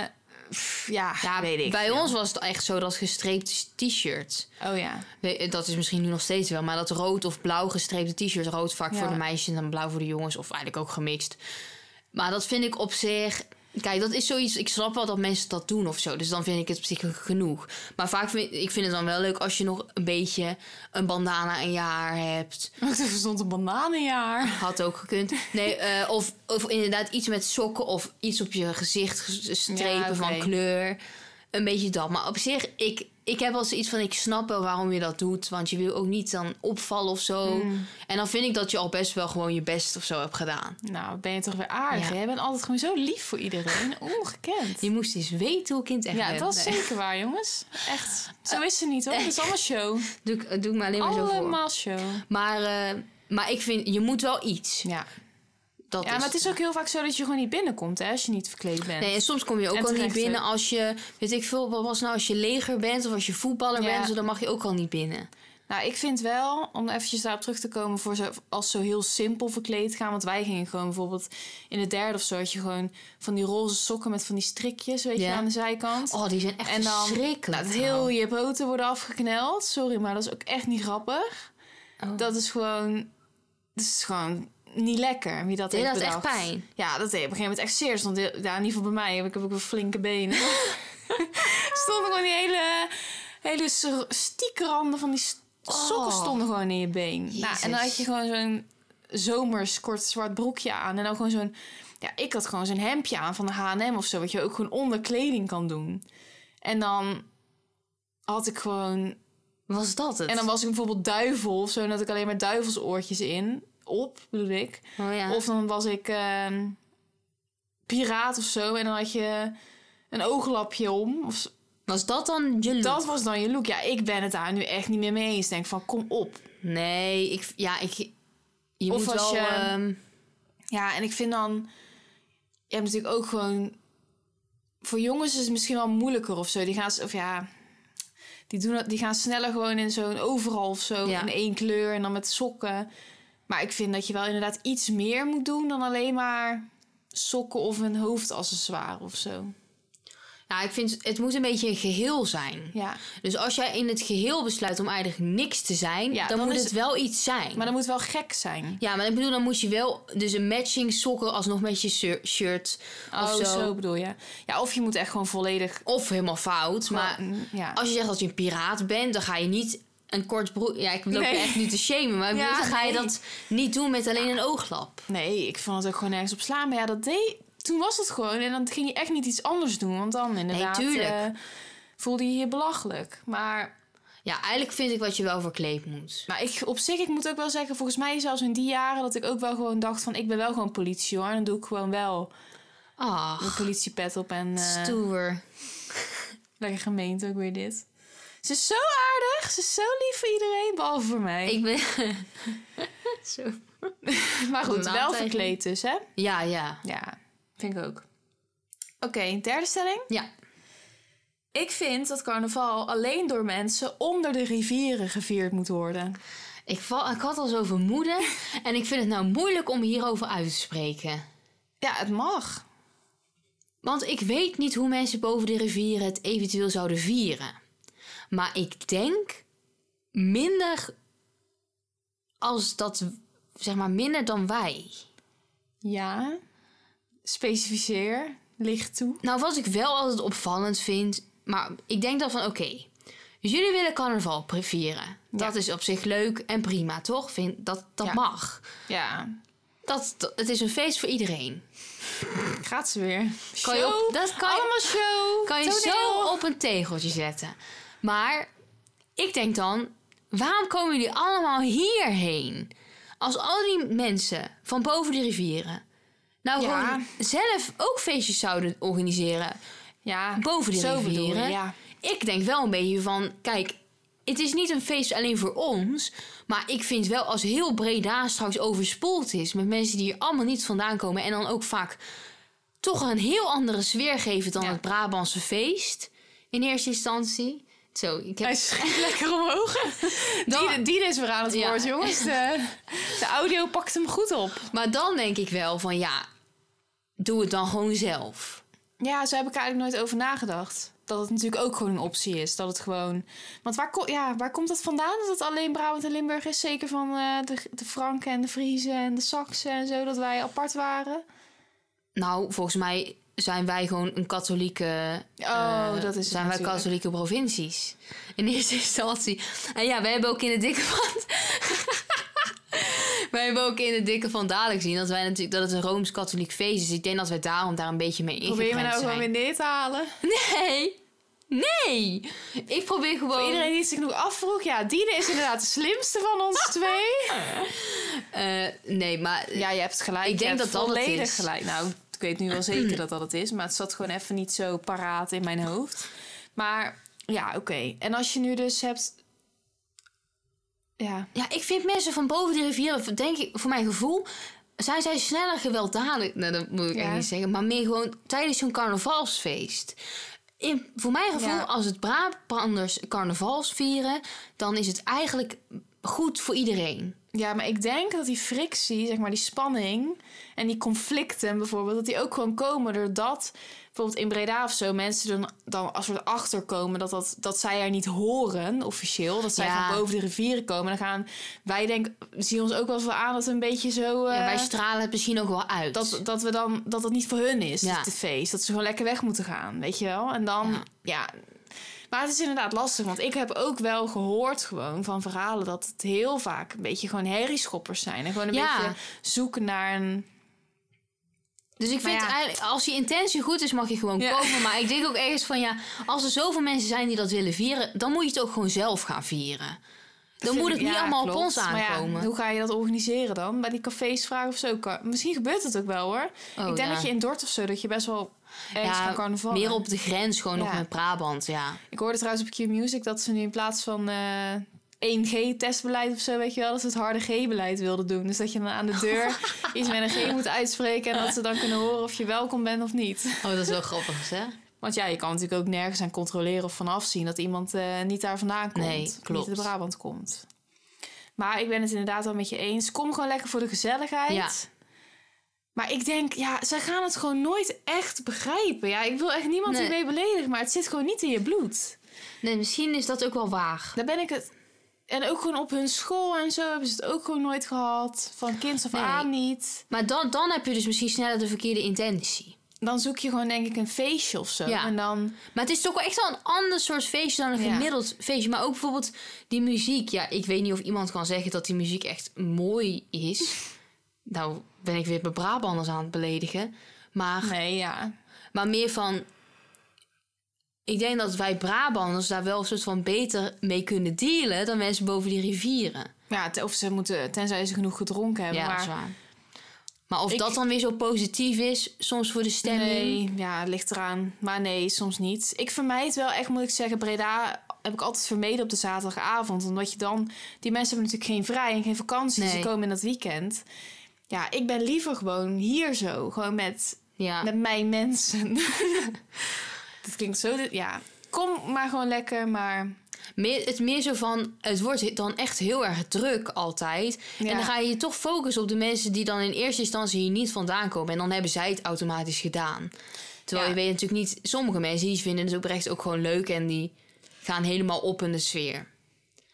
Speaker 1: pff, ja,
Speaker 2: Ja,
Speaker 1: weet ik.
Speaker 2: bij
Speaker 1: veel.
Speaker 2: ons was het echt zo dat gestreepte t-shirts.
Speaker 1: Oh ja.
Speaker 2: We- eh, Dat is misschien nu nog steeds wel, maar dat rood of blauw gestreepte t-shirt. Rood vaak
Speaker 1: Ja.
Speaker 2: voor de meisjes en blauw voor de jongens, of eigenlijk ook gemixt. Maar dat vind ik op zich. Kijk, dat is zoiets. Ik snap wel dat mensen dat doen of zo. Dus dan vind ik het op zich genoeg. Maar vaak vind ik vind het dan wel leuk als je nog een beetje een bandana in je haar hebt.
Speaker 1: Er stond een banaan in je haar.
Speaker 2: Had ook gekund. Nee, eh, of, of inderdaad iets met sokken of iets op je gezicht, ges- strepen
Speaker 1: Ja, oké.
Speaker 2: van kleur. Een beetje dat. Maar op zich, ik, ik heb wel zoiets van, ik snap wel waarom je dat doet. Want je wil ook niet dan opvallen of zo.
Speaker 1: Mm.
Speaker 2: En dan vind ik dat je al best wel gewoon je best of zo hebt gedaan.
Speaker 1: Nou, ben je toch weer aardig.
Speaker 2: Ja.
Speaker 1: hè? Je bent altijd gewoon zo lief voor iedereen. Ongekend.
Speaker 2: Je moest eens weten hoe kind echt
Speaker 1: Ja,
Speaker 2: bent.
Speaker 1: dat is
Speaker 2: Nee.
Speaker 1: zeker waar, jongens. Echt. Zo is ze niet, hoor. Het is allemaal show.
Speaker 2: Doe, ik- eh, doe ik me alleen maar zo voor.
Speaker 1: Allemaal show.
Speaker 2: Maar, eh, maar ik vind, je moet wel iets.
Speaker 1: Ja.
Speaker 2: Dat
Speaker 1: ja, maar het is ook heel vaak zo dat je gewoon niet binnenkomt, hè, als je niet verkleed bent.
Speaker 2: Nee, en soms kom je ook
Speaker 1: En
Speaker 2: al niet
Speaker 1: terecht,
Speaker 2: binnen
Speaker 1: hè?
Speaker 2: als je, weet ik veel, wat was nou als je leger bent of als je voetballer
Speaker 1: Ja.
Speaker 2: bent, zo, dan mag je ook al niet binnen.
Speaker 1: Nou, ik vind wel, om eventjes daarop terug te komen, voor zo, als zo heel simpel verkleed gaan. Want wij gingen gewoon bijvoorbeeld in het derde of zo, had je gewoon van die roze sokken met van die strikjes, weet
Speaker 2: Ja.
Speaker 1: je, aan de zijkant.
Speaker 2: Oh, die zijn echt
Speaker 1: En dan
Speaker 2: verschrikkelijk.
Speaker 1: Nou, dat heel je boten worden afgekneld. Sorry, maar dat is ook echt niet grappig.
Speaker 2: Oh.
Speaker 1: Dat is gewoon, dat is gewoon niet lekker, wie dat
Speaker 2: Deed
Speaker 1: heeft
Speaker 2: dat echt
Speaker 1: bedacht.
Speaker 2: pijn?
Speaker 1: Ja, dat deed op een gegeven moment echt zeer. Stond heel, ja, in ieder geval bij mij, heb ik heb ook wel flinke benen. stonden gewoon die hele, hele s- stiekranden van die s-
Speaker 2: Oh.
Speaker 1: sokken stonden gewoon in je been. Nou, en dan
Speaker 2: Jezus.
Speaker 1: had je gewoon zo'n zomers kort zwart broekje aan. En dan gewoon zo'n... Ja, ik had gewoon zo'n hemdje aan van de H&M of zo. Wat je ook gewoon onder kleding kan doen. En dan had ik gewoon...
Speaker 2: Was dat het?
Speaker 1: En dan was ik bijvoorbeeld duivel of zo. En dan had ik alleen maar duivelsoortjes in. Op, bedoel ik.
Speaker 2: oh, ja.
Speaker 1: Of dan was ik ehm, piraat of zo. En dan had je een ooglapje om. Of, zo.
Speaker 2: was dat dan je look?
Speaker 1: dat was dan je look. Ja, ik ben het daar nu echt niet meer mee eens. Denk van, kom op.
Speaker 2: Nee, ik, ja, ik, je
Speaker 1: Of
Speaker 2: moet
Speaker 1: als
Speaker 2: wel...
Speaker 1: je-
Speaker 2: ehm,
Speaker 1: Ja, en ik vind dan... Je hebt natuurlijk ook gewoon... Voor jongens is het misschien wel moeilijker of zo. Die gaan... s- Of ja... Die, doen, dat- die gaan sneller gewoon in zo'n overal of zo.
Speaker 2: Ja.
Speaker 1: In één kleur en dan met sokken. Maar ik vind dat je wel inderdaad iets meer moet doen... dan alleen maar sokken of een hoofdaccessoire of zo.
Speaker 2: ja, ik vind, het moet een beetje een geheel zijn.
Speaker 1: Ja.
Speaker 2: Dus als jij in het geheel besluit om eigenlijk niks te zijn,
Speaker 1: Ja,
Speaker 2: dan,
Speaker 1: dan
Speaker 2: moet
Speaker 1: is
Speaker 2: het wel iets zijn.
Speaker 1: Maar dat moet wel gek zijn.
Speaker 2: Ja, maar ik bedoel, dan moet je wel dus een matching sokken alsnog met je shir- shirt of zo.
Speaker 1: Oh, bedoel je. Ja, of je moet echt gewoon volledig...
Speaker 2: Of helemaal fout, maar...
Speaker 1: Maar, ja.
Speaker 2: Als je zegt dat je een piraat bent, dan ga je niet een kort broek... Ja, ik loop je
Speaker 1: Nee.
Speaker 2: echt niet te shamen, maar ik
Speaker 1: Ja,
Speaker 2: bedoel, dan ga je
Speaker 1: nee.
Speaker 2: dat niet doen met alleen een ooglap.
Speaker 1: Nee, ik vond het ook gewoon nergens op slaan. Maar ja, dat deed... Toen was het gewoon. En dan ging je echt niet iets anders doen. Want dan inderdaad...
Speaker 2: tuurlijk.
Speaker 1: eh, voelde je je belachelijk. Maar
Speaker 2: Ja, eigenlijk vind ik wat je wel verkleed moet.
Speaker 1: nou, ik, op zich, ik moet ook wel zeggen... Volgens mij zelfs in die jaren dat ik ook wel gewoon dacht van... Ik ben wel gewoon politie hoor. En dan doe ik gewoon wel
Speaker 2: Ach,
Speaker 1: een politiepet op. En eh,
Speaker 2: Oh, stoer.
Speaker 1: lekker gemeente ook weer dit. Ze is zo aardig. Ze is zo lief voor iedereen. Behalve voor mij.
Speaker 2: Ik ben... Zo.
Speaker 1: maar goed,
Speaker 2: Een
Speaker 1: wel
Speaker 2: naamteken.
Speaker 1: verkleed dus hè.
Speaker 2: Ja, ja.
Speaker 1: Ja, vind ik ook. Oké, derde stelling.
Speaker 2: Ja.
Speaker 1: Ik vind dat carnaval alleen door mensen onder de rivieren gevierd moet worden.
Speaker 2: Ik, val, ik had al zo vermoeden en ik vind het nou moeilijk om hierover uit te spreken.
Speaker 1: Ja, het mag.
Speaker 2: Want ik weet niet hoe mensen boven de rivieren het eventueel zouden vieren. Maar ik denk minder als dat, zeg maar, minder dan wij.
Speaker 1: Ja. Specificeer. Licht toe.
Speaker 2: Nou, wat ik wel altijd opvallend vind, maar ik denk dan van oké, jullie willen carnaval pre- vieren. Dat is op zich leuk en prima, toch? Vind, dat dat
Speaker 1: Ja.
Speaker 2: mag.
Speaker 1: Ja.
Speaker 2: Dat, dat- het is een feest voor iedereen.
Speaker 1: Gaat ze weer.
Speaker 2: Kan je
Speaker 1: Show.
Speaker 2: op, dat kan je,
Speaker 1: Allemaal show.
Speaker 2: kan je
Speaker 1: Toneel.
Speaker 2: zo op een tegeltje zetten. Maar ik denk dan, waarom komen jullie allemaal hierheen? Als al die mensen van boven de rivieren nou
Speaker 1: Ja.
Speaker 2: gewoon zelf ook feestjes zouden organiseren.
Speaker 1: Ja.
Speaker 2: boven de
Speaker 1: zo bedoel je,
Speaker 2: rivieren.
Speaker 1: Ja.
Speaker 2: Ik denk wel een beetje van, kijk, het is niet een feest alleen voor ons. Maar ik vind wel als heel Breda straks overspoeld is met mensen die hier allemaal niet vandaan komen. En dan ook vaak toch een heel andere sfeer geven dan
Speaker 1: Ja.
Speaker 2: het Brabantse feest in eerste instantie. Zo, ik heb
Speaker 1: Hij schiet lekker omhoog.
Speaker 2: dan,
Speaker 1: Die, die is weer aan het
Speaker 2: Ja.
Speaker 1: woord, jongens. De, de audio pakt hem goed op.
Speaker 2: Maar dan denk ik wel van, ja, doe het dan gewoon zelf.
Speaker 1: Ja, zo heb ik er eigenlijk nooit over nagedacht. Dat het natuurlijk ook gewoon een optie is. Dat het gewoon. Want waar, ko- ja, waar komt dat vandaan? Dat het alleen Brabant en Limburg is. Zeker van eh, de, de Franken en de Vriezen en de Saksen en zo. Dat wij apart waren.
Speaker 2: Nou, volgens mij zijn wij gewoon een katholieke...
Speaker 1: Oh,
Speaker 2: eh,
Speaker 1: dat is het
Speaker 2: Zijn wij
Speaker 1: natuurlijk.
Speaker 2: katholieke provincies. In eerste instantie. En ja, wij hebben ook in de dikke van... wij hebben ook in de dikke van dadelijk gezien... dat, wij natuurlijk, dat het een Rooms-katholiek feest is. Ik denk dat wij daarom daar een beetje mee ingekremd
Speaker 1: Probeer je me nou
Speaker 2: zijn.
Speaker 1: gewoon weer neer te halen.
Speaker 2: Nee! Nee! Ik probeer gewoon...
Speaker 1: Voor iedereen die zich nog afvroeg. Ja, Dine is inderdaad de slimste van ons twee.
Speaker 2: Eh, nee, maar...
Speaker 1: Ja, je hebt gelijk.
Speaker 2: Ik
Speaker 1: Je
Speaker 2: denk
Speaker 1: hebt
Speaker 2: dat dat het
Speaker 1: volledig
Speaker 2: is.
Speaker 1: gelijk. Nou, ik weet nu wel zeker dat dat het is, maar het zat gewoon even niet zo paraat in mijn hoofd. Maar ja, oké. En als je nu dus hebt. Ja.
Speaker 2: Ja, ik vind mensen van boven de rivieren, denk ik, voor mijn gevoel, zijn zij sneller gewelddadig. Nou, dat moet ik
Speaker 1: Ja.
Speaker 2: echt niet zeggen. Maar meer gewoon tijdens zo'n carnavalsfeest. In, voor mijn gevoel,
Speaker 1: Ja.
Speaker 2: als het Brabanders carnavals vieren, dan is het eigenlijk goed voor iedereen.
Speaker 1: ja, maar ik denk dat die frictie, zeg maar die spanning en die conflicten bijvoorbeeld, dat die ook gewoon komen doordat bijvoorbeeld in Breda of zo mensen dan, dan als we erachter komen dat, dat, dat zij er niet horen officieel, dat zij
Speaker 2: Ja.
Speaker 1: van boven de rivieren komen, dan gaan wij denk, zien ons ook wel veel aan dat we een beetje zo.
Speaker 2: Ja,
Speaker 1: eh,
Speaker 2: wij stralen het misschien ook wel uit.
Speaker 1: dat, dat we dan dat het niet voor hun is,
Speaker 2: Ja.
Speaker 1: dit het feest. Dat ze gewoon lekker weg moeten gaan, weet je wel? En dan, ja.
Speaker 2: Ja.
Speaker 1: Maar het is inderdaad lastig, want ik heb ook wel gehoord gewoon van verhalen dat het heel vaak een beetje gewoon herrieschoppers zijn. En gewoon een
Speaker 2: Ja.
Speaker 1: beetje zoeken naar een...
Speaker 2: Dus ik
Speaker 1: Maar
Speaker 2: vind
Speaker 1: ja.
Speaker 2: eigenlijk, als je intentie goed is, mag je gewoon
Speaker 1: Ja.
Speaker 2: komen. Maar ik denk ook ergens van ja, als er zoveel mensen zijn die dat willen vieren, dan moet je het ook gewoon zelf gaan vieren. Dan moet het niet
Speaker 1: Ja,
Speaker 2: allemaal op
Speaker 1: klopt.
Speaker 2: ons
Speaker 1: Maar ja,
Speaker 2: aankomen.
Speaker 1: hoe ga je dat organiseren dan? Bij die cafés vragen of zo? Kan- Misschien gebeurt het ook wel hoor.
Speaker 2: Oh,
Speaker 1: ik denk
Speaker 2: ja.
Speaker 1: dat je in Dordt of zo, dat je best wel ergens
Speaker 2: Ja,
Speaker 1: kan carnaval.
Speaker 2: Meer op de grens, gewoon nog
Speaker 1: Ja.
Speaker 2: met Brabant, ja.
Speaker 1: Ik hoorde trouwens op Q-Music dat ze nu in plaats van eh 1G-testbeleid of zo, weet je wel, dat ze het harde G-beleid wilden doen. Dus dat je dan aan de deur iets met een G moet uitspreken en dat ze dan kunnen horen of je welkom bent of niet.
Speaker 2: Oh, dat is wel grappig, hè?
Speaker 1: Want ja, je kan natuurlijk ook nergens aan controleren of vanaf zien dat iemand eh, niet daar vandaan komt.
Speaker 2: Nee,
Speaker 1: of
Speaker 2: klopt.
Speaker 1: Niet uit Brabant komt. Maar ik ben het inderdaad wel met je eens. Kom gewoon lekker voor de gezelligheid.
Speaker 2: Ja.
Speaker 1: Maar ik denk, ja, ze gaan het gewoon nooit echt begrijpen. Ja, ik wil echt niemand
Speaker 2: Nee.
Speaker 1: hiermee beledigen, maar het zit gewoon niet in je bloed.
Speaker 2: Nee, misschien is dat ook wel waar.
Speaker 1: Daar ben ik het. En ook gewoon op hun school en zo hebben ze het ook gewoon nooit gehad. Van kind af
Speaker 2: Nee.
Speaker 1: aan niet.
Speaker 2: Maar dan, dan heb je dus misschien sneller de verkeerde intentie.
Speaker 1: Dan zoek je gewoon, denk ik, een feestje of zo.
Speaker 2: Ja.
Speaker 1: En dan.
Speaker 2: Maar het is toch wel echt wel een ander soort feestje dan een
Speaker 1: Ja.
Speaker 2: gemiddeld feestje. Maar ook bijvoorbeeld die muziek. Ja, ik weet niet of iemand kan zeggen dat die muziek echt mooi is. nou, ben ik weer bij Brabanders aan het beledigen. Maar
Speaker 1: Nee, ja.
Speaker 2: Maar meer van. Ik denk dat wij Brabanders daar wel een soort van beter mee kunnen dealen dan mensen boven die rivieren.
Speaker 1: Ja, te- of ze moeten, tenzij ze genoeg gedronken hebben.
Speaker 2: ja,
Speaker 1: maar
Speaker 2: dat is waar. Maar of
Speaker 1: Ik-
Speaker 2: dat dan weer zo positief is, soms voor de stemming.
Speaker 1: Nee, ja, het ligt eraan. Maar nee, soms niet. Ik vermijd wel echt, moet ik zeggen, Breda heb ik altijd vermeden op de zaterdagavond. Omdat je dan... Die mensen hebben natuurlijk geen vrij en geen vakantie. Ze
Speaker 2: Nee.
Speaker 1: komen in dat weekend. Ja, ik ben liever gewoon hier zo. Gewoon met
Speaker 2: Ja.
Speaker 1: Met mijn mensen. dat klinkt zo. dit- Ja, kom maar gewoon lekker, maar.
Speaker 2: Meer, het meer zo van, het wordt dan echt heel erg druk altijd.
Speaker 1: Ja.
Speaker 2: En dan ga je je toch focussen op de mensen die dan in eerste instantie hier niet vandaan komen. En dan hebben zij het automatisch gedaan. Terwijl
Speaker 1: Ja.
Speaker 2: je weet natuurlijk niet, sommige mensen die vinden het oprecht ook gewoon leuk en die gaan helemaal op in de sfeer.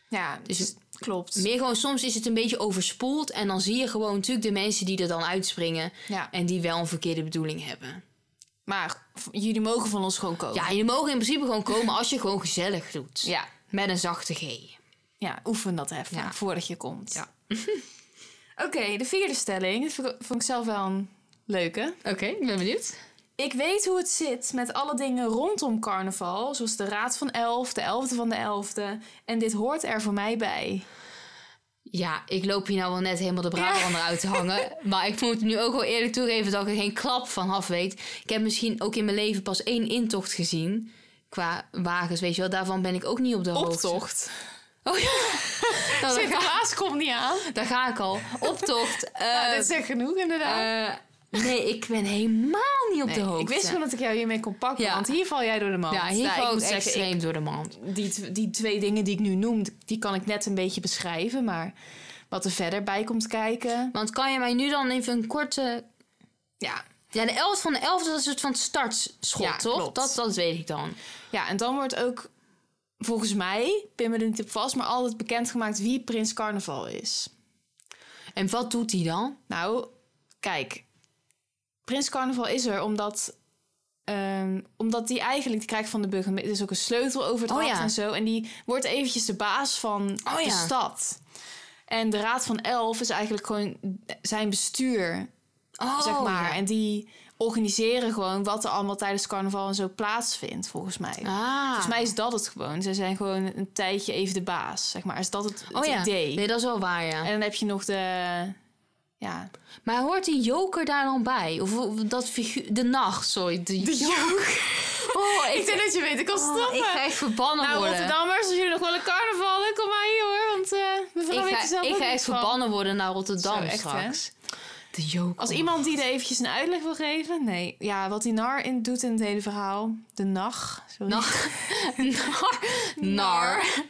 Speaker 1: Ja, dus
Speaker 2: Dus
Speaker 1: het klopt.
Speaker 2: Meer gewoon, soms is het een beetje overspoeld. En dan zie je gewoon natuurlijk de mensen die er dan uitspringen.
Speaker 1: Ja,
Speaker 2: En die wel een verkeerde bedoeling hebben.
Speaker 1: maar v- jullie mogen van ons gewoon komen.
Speaker 2: Ja, jullie mogen in principe gewoon komen als je gewoon gezellig doet.
Speaker 1: Oh. ja,
Speaker 2: Met een zachte G.
Speaker 1: ja, oefen dat even
Speaker 2: Ja.
Speaker 1: voordat je komt.
Speaker 2: Ja.
Speaker 1: Oké, de vierde stelling. Dat vond ik- vond ik zelf wel een leuke.
Speaker 2: Oké, ik ben benieuwd.
Speaker 1: Ik weet hoe het zit met alle dingen rondom carnaval. Zoals de Raad van Elf, de Elfde van de Elfde. En dit hoort er voor mij bij.
Speaker 2: Ja, ik loop hier nou wel net helemaal de Brabander uit te hangen. Maar ik moet nu ook wel eerlijk toegeven dat ik er geen klap van af weet. Ik heb misschien ook in mijn leven pas één intocht gezien. Qua wagens, weet je wel. Daarvan ben ik ook niet op de hoogte.
Speaker 1: Optocht.
Speaker 2: Oh ja. Nou, daar, ga,
Speaker 1: Sinterklaas komt niet aan.
Speaker 2: daar ga ik al. Optocht.
Speaker 1: Nou,
Speaker 2: eh,
Speaker 1: dit is echt genoeg inderdaad.
Speaker 2: Eh, nee, ik ben helemaal niet op de
Speaker 1: Nee,
Speaker 2: hoogte.
Speaker 1: Ik wist gewoon dat ik jou hiermee kon pakken,
Speaker 2: Ja.
Speaker 1: want hier val jij door de man.
Speaker 2: Ja, hier
Speaker 1: ik
Speaker 2: gewoon
Speaker 1: moet
Speaker 2: extreem
Speaker 1: zeggen, ik-
Speaker 2: door de mand.
Speaker 1: die, tw- die twee dingen die ik nu noem, die kan ik net een beetje beschrijven. Maar wat er verder bij komt kijken...
Speaker 2: Want kan je mij nu dan even een korte...
Speaker 1: Ja,
Speaker 2: Ja, de 11 van de 11 dat is een soort van startschot,
Speaker 1: Ja,
Speaker 2: toch?
Speaker 1: klopt.
Speaker 2: Dat, dat weet ik dan.
Speaker 1: Ja, en dan wordt ook, volgens mij, pin me er niet op vast, maar altijd bekendgemaakt wie Prins Carnaval is.
Speaker 2: En wat doet hij dan?
Speaker 1: Nou, kijk. Prins Carnaval is er omdat... ehm, omdat die eigenlijk, die krijgt van de burgemeester... dus ook een sleutel over het
Speaker 2: Oh
Speaker 1: ambt
Speaker 2: ja.
Speaker 1: en zo. En die wordt eventjes de baas van
Speaker 2: Oh
Speaker 1: de
Speaker 2: ja.
Speaker 1: stad. En de Raad van Elf is eigenlijk gewoon zijn bestuur,
Speaker 2: Oh,
Speaker 1: zeg maar.
Speaker 2: ja.
Speaker 1: En die organiseren gewoon wat er allemaal tijdens carnaval en zo plaatsvindt, volgens mij.
Speaker 2: Ah.
Speaker 1: Volgens mij is dat het gewoon. Ze zijn gewoon een tijdje even de baas, zeg maar. Is dat het, het
Speaker 2: oh, ja.
Speaker 1: idee?
Speaker 2: Nee, dat is wel waar, ja.
Speaker 1: En dan heb je nog de... Ja,
Speaker 2: Maar hoort die joker daar dan bij? Of of dat figuur... De nacht, sorry. De, Oh, ik,
Speaker 1: Ik denk dat je weet, ik kan
Speaker 2: oh,
Speaker 1: stoppen.
Speaker 2: ik ga echt verbannen
Speaker 1: nou,
Speaker 2: worden.
Speaker 1: Rotterdammers, als jullie nog wel een carnaval, dan kom maar hier hoor. Want eh mevrouw
Speaker 2: ik
Speaker 1: weet er
Speaker 2: ga,
Speaker 1: zelf
Speaker 2: ik
Speaker 1: ook
Speaker 2: ga
Speaker 1: niks
Speaker 2: echt
Speaker 1: van.
Speaker 2: verbannen worden naar Rotterdam
Speaker 1: Zo, echt,
Speaker 2: straks. Oh. De joker.
Speaker 1: Als iemand die er eventjes een uitleg wil geven. Nee, ja, wat die nar in, doet in het hele verhaal. De nacht. Sorry.
Speaker 2: Nar. Nar. Nar.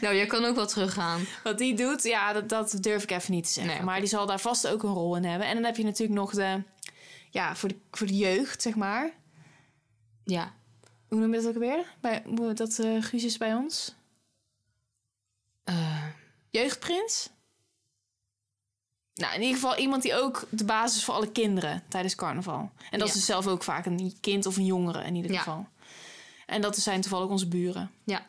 Speaker 2: Nou, jij kan ook wel teruggaan.
Speaker 1: Wat die doet, ja, dat, dat durf ik even niet te zeggen.
Speaker 2: Nee, oké.
Speaker 1: Maar die zal daar vast ook een rol in hebben. En dan heb je natuurlijk nog de... Ja, voor de, voor de jeugd, zeg maar.
Speaker 2: Ja.
Speaker 1: Hoe noem je dat ook weer? Bij, hoe- dat eh Guus is bij ons.
Speaker 2: Eh,
Speaker 1: Jeugdprins? Nou, in ieder geval iemand die ook de basis is voor alle kinderen tijdens carnaval. En dat
Speaker 2: Ja.
Speaker 1: is dus zelf ook vaak een kind of een jongere in ieder
Speaker 2: Ja.
Speaker 1: geval. En dat zijn toevallig onze buren.
Speaker 2: ja.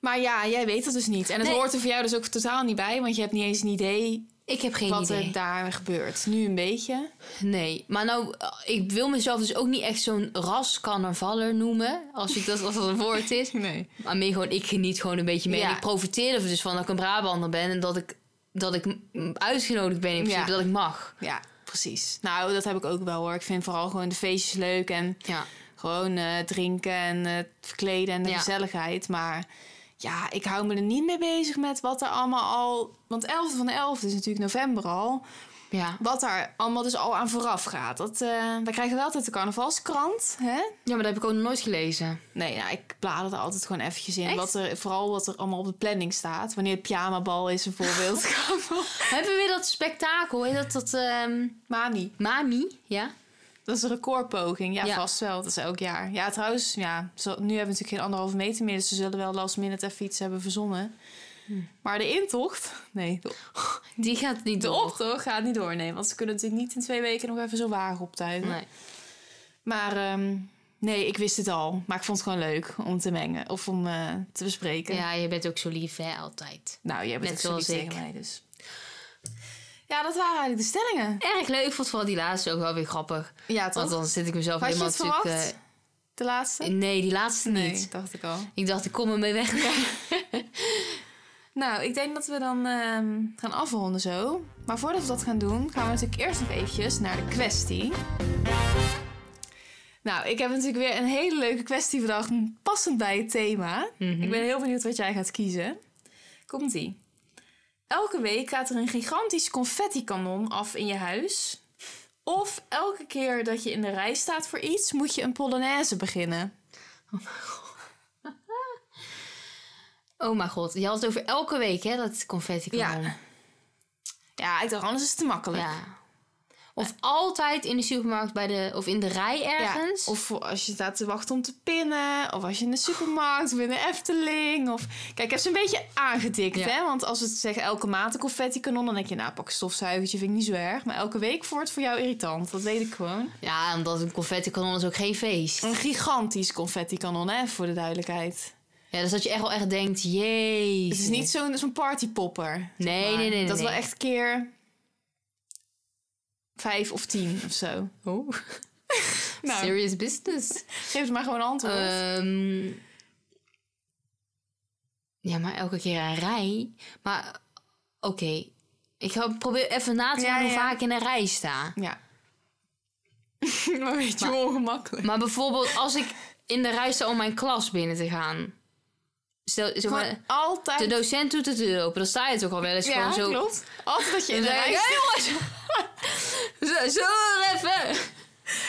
Speaker 1: Maar ja, jij weet dat dus niet. En het
Speaker 2: Nee.
Speaker 1: hoort er voor jou dus ook totaal niet bij, want je hebt niet eens een idee
Speaker 2: Ik heb geen
Speaker 1: wat eh,
Speaker 2: idee.
Speaker 1: er daar gebeurt. Nu een beetje.
Speaker 2: Nee, maar nou, eh, ik wil mezelf dus ook niet echt zo'n rascarnavaller noemen. Als ik dat als dat een woord is.
Speaker 1: Nee.
Speaker 2: Maar meer gewoon, ik geniet gewoon een beetje mee. En
Speaker 1: Ja.
Speaker 2: ik profiteer er dus van dat ik een Brabander ben. En dat ik, dat ik mm, uitgenodigd ben in principe,
Speaker 1: Ja.
Speaker 2: dat ik mag.
Speaker 1: Ja, precies. Nou, dat heb ik ook wel hoor. Ik vind vooral gewoon de feestjes leuk en
Speaker 2: Ja.
Speaker 1: Gewoon eh, drinken en eh, het verkleden en de
Speaker 2: Ja.
Speaker 1: gezelligheid. Maar ja, ik hou me er niet mee bezig met wat er allemaal al... Want 11 van de 11 is natuurlijk november al.
Speaker 2: Ja.
Speaker 1: Wat daar allemaal dus al aan vooraf gaat. Dat, eh wij krijgen wel altijd de carnavalskrant, hè?
Speaker 2: ja, maar dat heb ik ook nog nooit gelezen.
Speaker 1: Nee, ja, ik blader er altijd gewoon eventjes in.
Speaker 2: Echt?
Speaker 1: Wat er, vooral wat er allemaal op de planning staat. Wanneer het pyjamabal is bijvoorbeeld.
Speaker 2: Hebben we weer dat spektakel? Heet dat dat ehm,
Speaker 1: Mani,
Speaker 2: Mami? Ja?
Speaker 1: dat is een recordpoging. Ja,
Speaker 2: Ja.
Speaker 1: vast wel. Dat is elk jaar. Ja, trouwens, ja, zo, nu hebben we natuurlijk geen anderhalve meter meer. Dus ze zullen wel last minute even iets hebben verzonnen.
Speaker 2: Hm.
Speaker 1: Maar de intocht, nee, de,
Speaker 2: Die gaat niet
Speaker 1: de
Speaker 2: door.
Speaker 1: optocht gaat niet doornemen. Want ze kunnen natuurlijk niet in twee weken nog even zo wagen optuigen.
Speaker 2: Nee.
Speaker 1: Maar ehm, nee, ik wist het al. Maar ik vond het gewoon leuk om te mengen of om eh, te bespreken.
Speaker 2: Ja, je bent ook zo lief, hè, altijd.
Speaker 1: Nou, jij bent
Speaker 2: Net
Speaker 1: ook zo lief
Speaker 2: zoals ik.
Speaker 1: tegen mij, dus. Ja, dat waren eigenlijk de stellingen.
Speaker 2: Erg leuk. Ik vond vooral die laatste ook wel weer grappig.
Speaker 1: Ja,
Speaker 2: Want
Speaker 1: toch?
Speaker 2: dan zit ik mezelf
Speaker 1: Had je
Speaker 2: helemaal
Speaker 1: het verwacht?
Speaker 2: natuurlijk, eh,
Speaker 1: De laatste?
Speaker 2: Nee, die laatste
Speaker 1: Nee,
Speaker 2: niet.
Speaker 1: dacht ik al.
Speaker 2: Ik dacht, ik kom ermee weg.
Speaker 1: Nou, ik denk dat we dan ehm, gaan afronden zo. Maar voordat we dat gaan doen, gaan we natuurlijk eerst nog eventjes naar de kwestie. Nou, ik heb natuurlijk weer een hele leuke kwestie bedacht, passend bij het thema. Ik ben heel benieuwd wat jij gaat kiezen. Komt-ie. Elke week gaat er een gigantisch confetti-kanon af in je huis. Of elke keer dat je in de rij staat voor iets, moet je een polonaise beginnen.
Speaker 2: Oh mijn god, je had het over elke week, hè, dat confetti kanon.
Speaker 1: Ja. Ja, ik dacht, anders is het te makkelijk.
Speaker 2: Ja. Of altijd in de supermarkt bij de, of in de rij ergens.
Speaker 1: Ja, of voor als je staat te wachten om te pinnen. Of als je in de supermarkt of in de Efteling. Of... Kijk, ik heb ze een beetje aangedikt.
Speaker 2: Ja.
Speaker 1: Hè? Want als we het zeggen elke maand een confetti kanon... dan denk je, nou, pak een stofzuigertje, vind ik niet zo erg. Maar elke week wordt voor jou irritant. Dat weet ik gewoon.
Speaker 2: ja, omdat een confetti kanon is ook geen feest.
Speaker 1: Een gigantisch confetti kanon, hè, voor de duidelijkheid.
Speaker 2: Ja, dus dat je echt wel echt denkt, jee.
Speaker 1: Het is niet zo'n zo'n partypopper. zeg
Speaker 2: Nee,
Speaker 1: maar.
Speaker 2: nee, nee, nee,
Speaker 1: Dat is wel
Speaker 2: nee.
Speaker 1: echt een keer... Vijf of tien of zo.
Speaker 2: Oh.
Speaker 1: Nou,
Speaker 2: Serious business.
Speaker 1: geef het maar gewoon een antwoord.
Speaker 2: Ehm, ja, maar elke keer een rij. Maar oké, ik ga probeer even na te
Speaker 1: Ja,
Speaker 2: gaan hoe
Speaker 1: ja.
Speaker 2: vaak ik in een rij sta.
Speaker 1: Ja. maar een beetje ongemakkelijk.
Speaker 2: Maar bijvoorbeeld als ik in de rij sta om mijn klas binnen te gaan. Stel, zeg
Speaker 1: Gewoon
Speaker 2: maar,
Speaker 1: altijd.
Speaker 2: de docent doet het deur open. Dan sta je toch al wel eens
Speaker 1: ja,
Speaker 2: gewoon zo...
Speaker 1: klopt. Altijd dat je in de
Speaker 2: Dan
Speaker 1: rij
Speaker 2: denk ik,
Speaker 1: staat.
Speaker 2: "Hé, jongens, zo, zo even.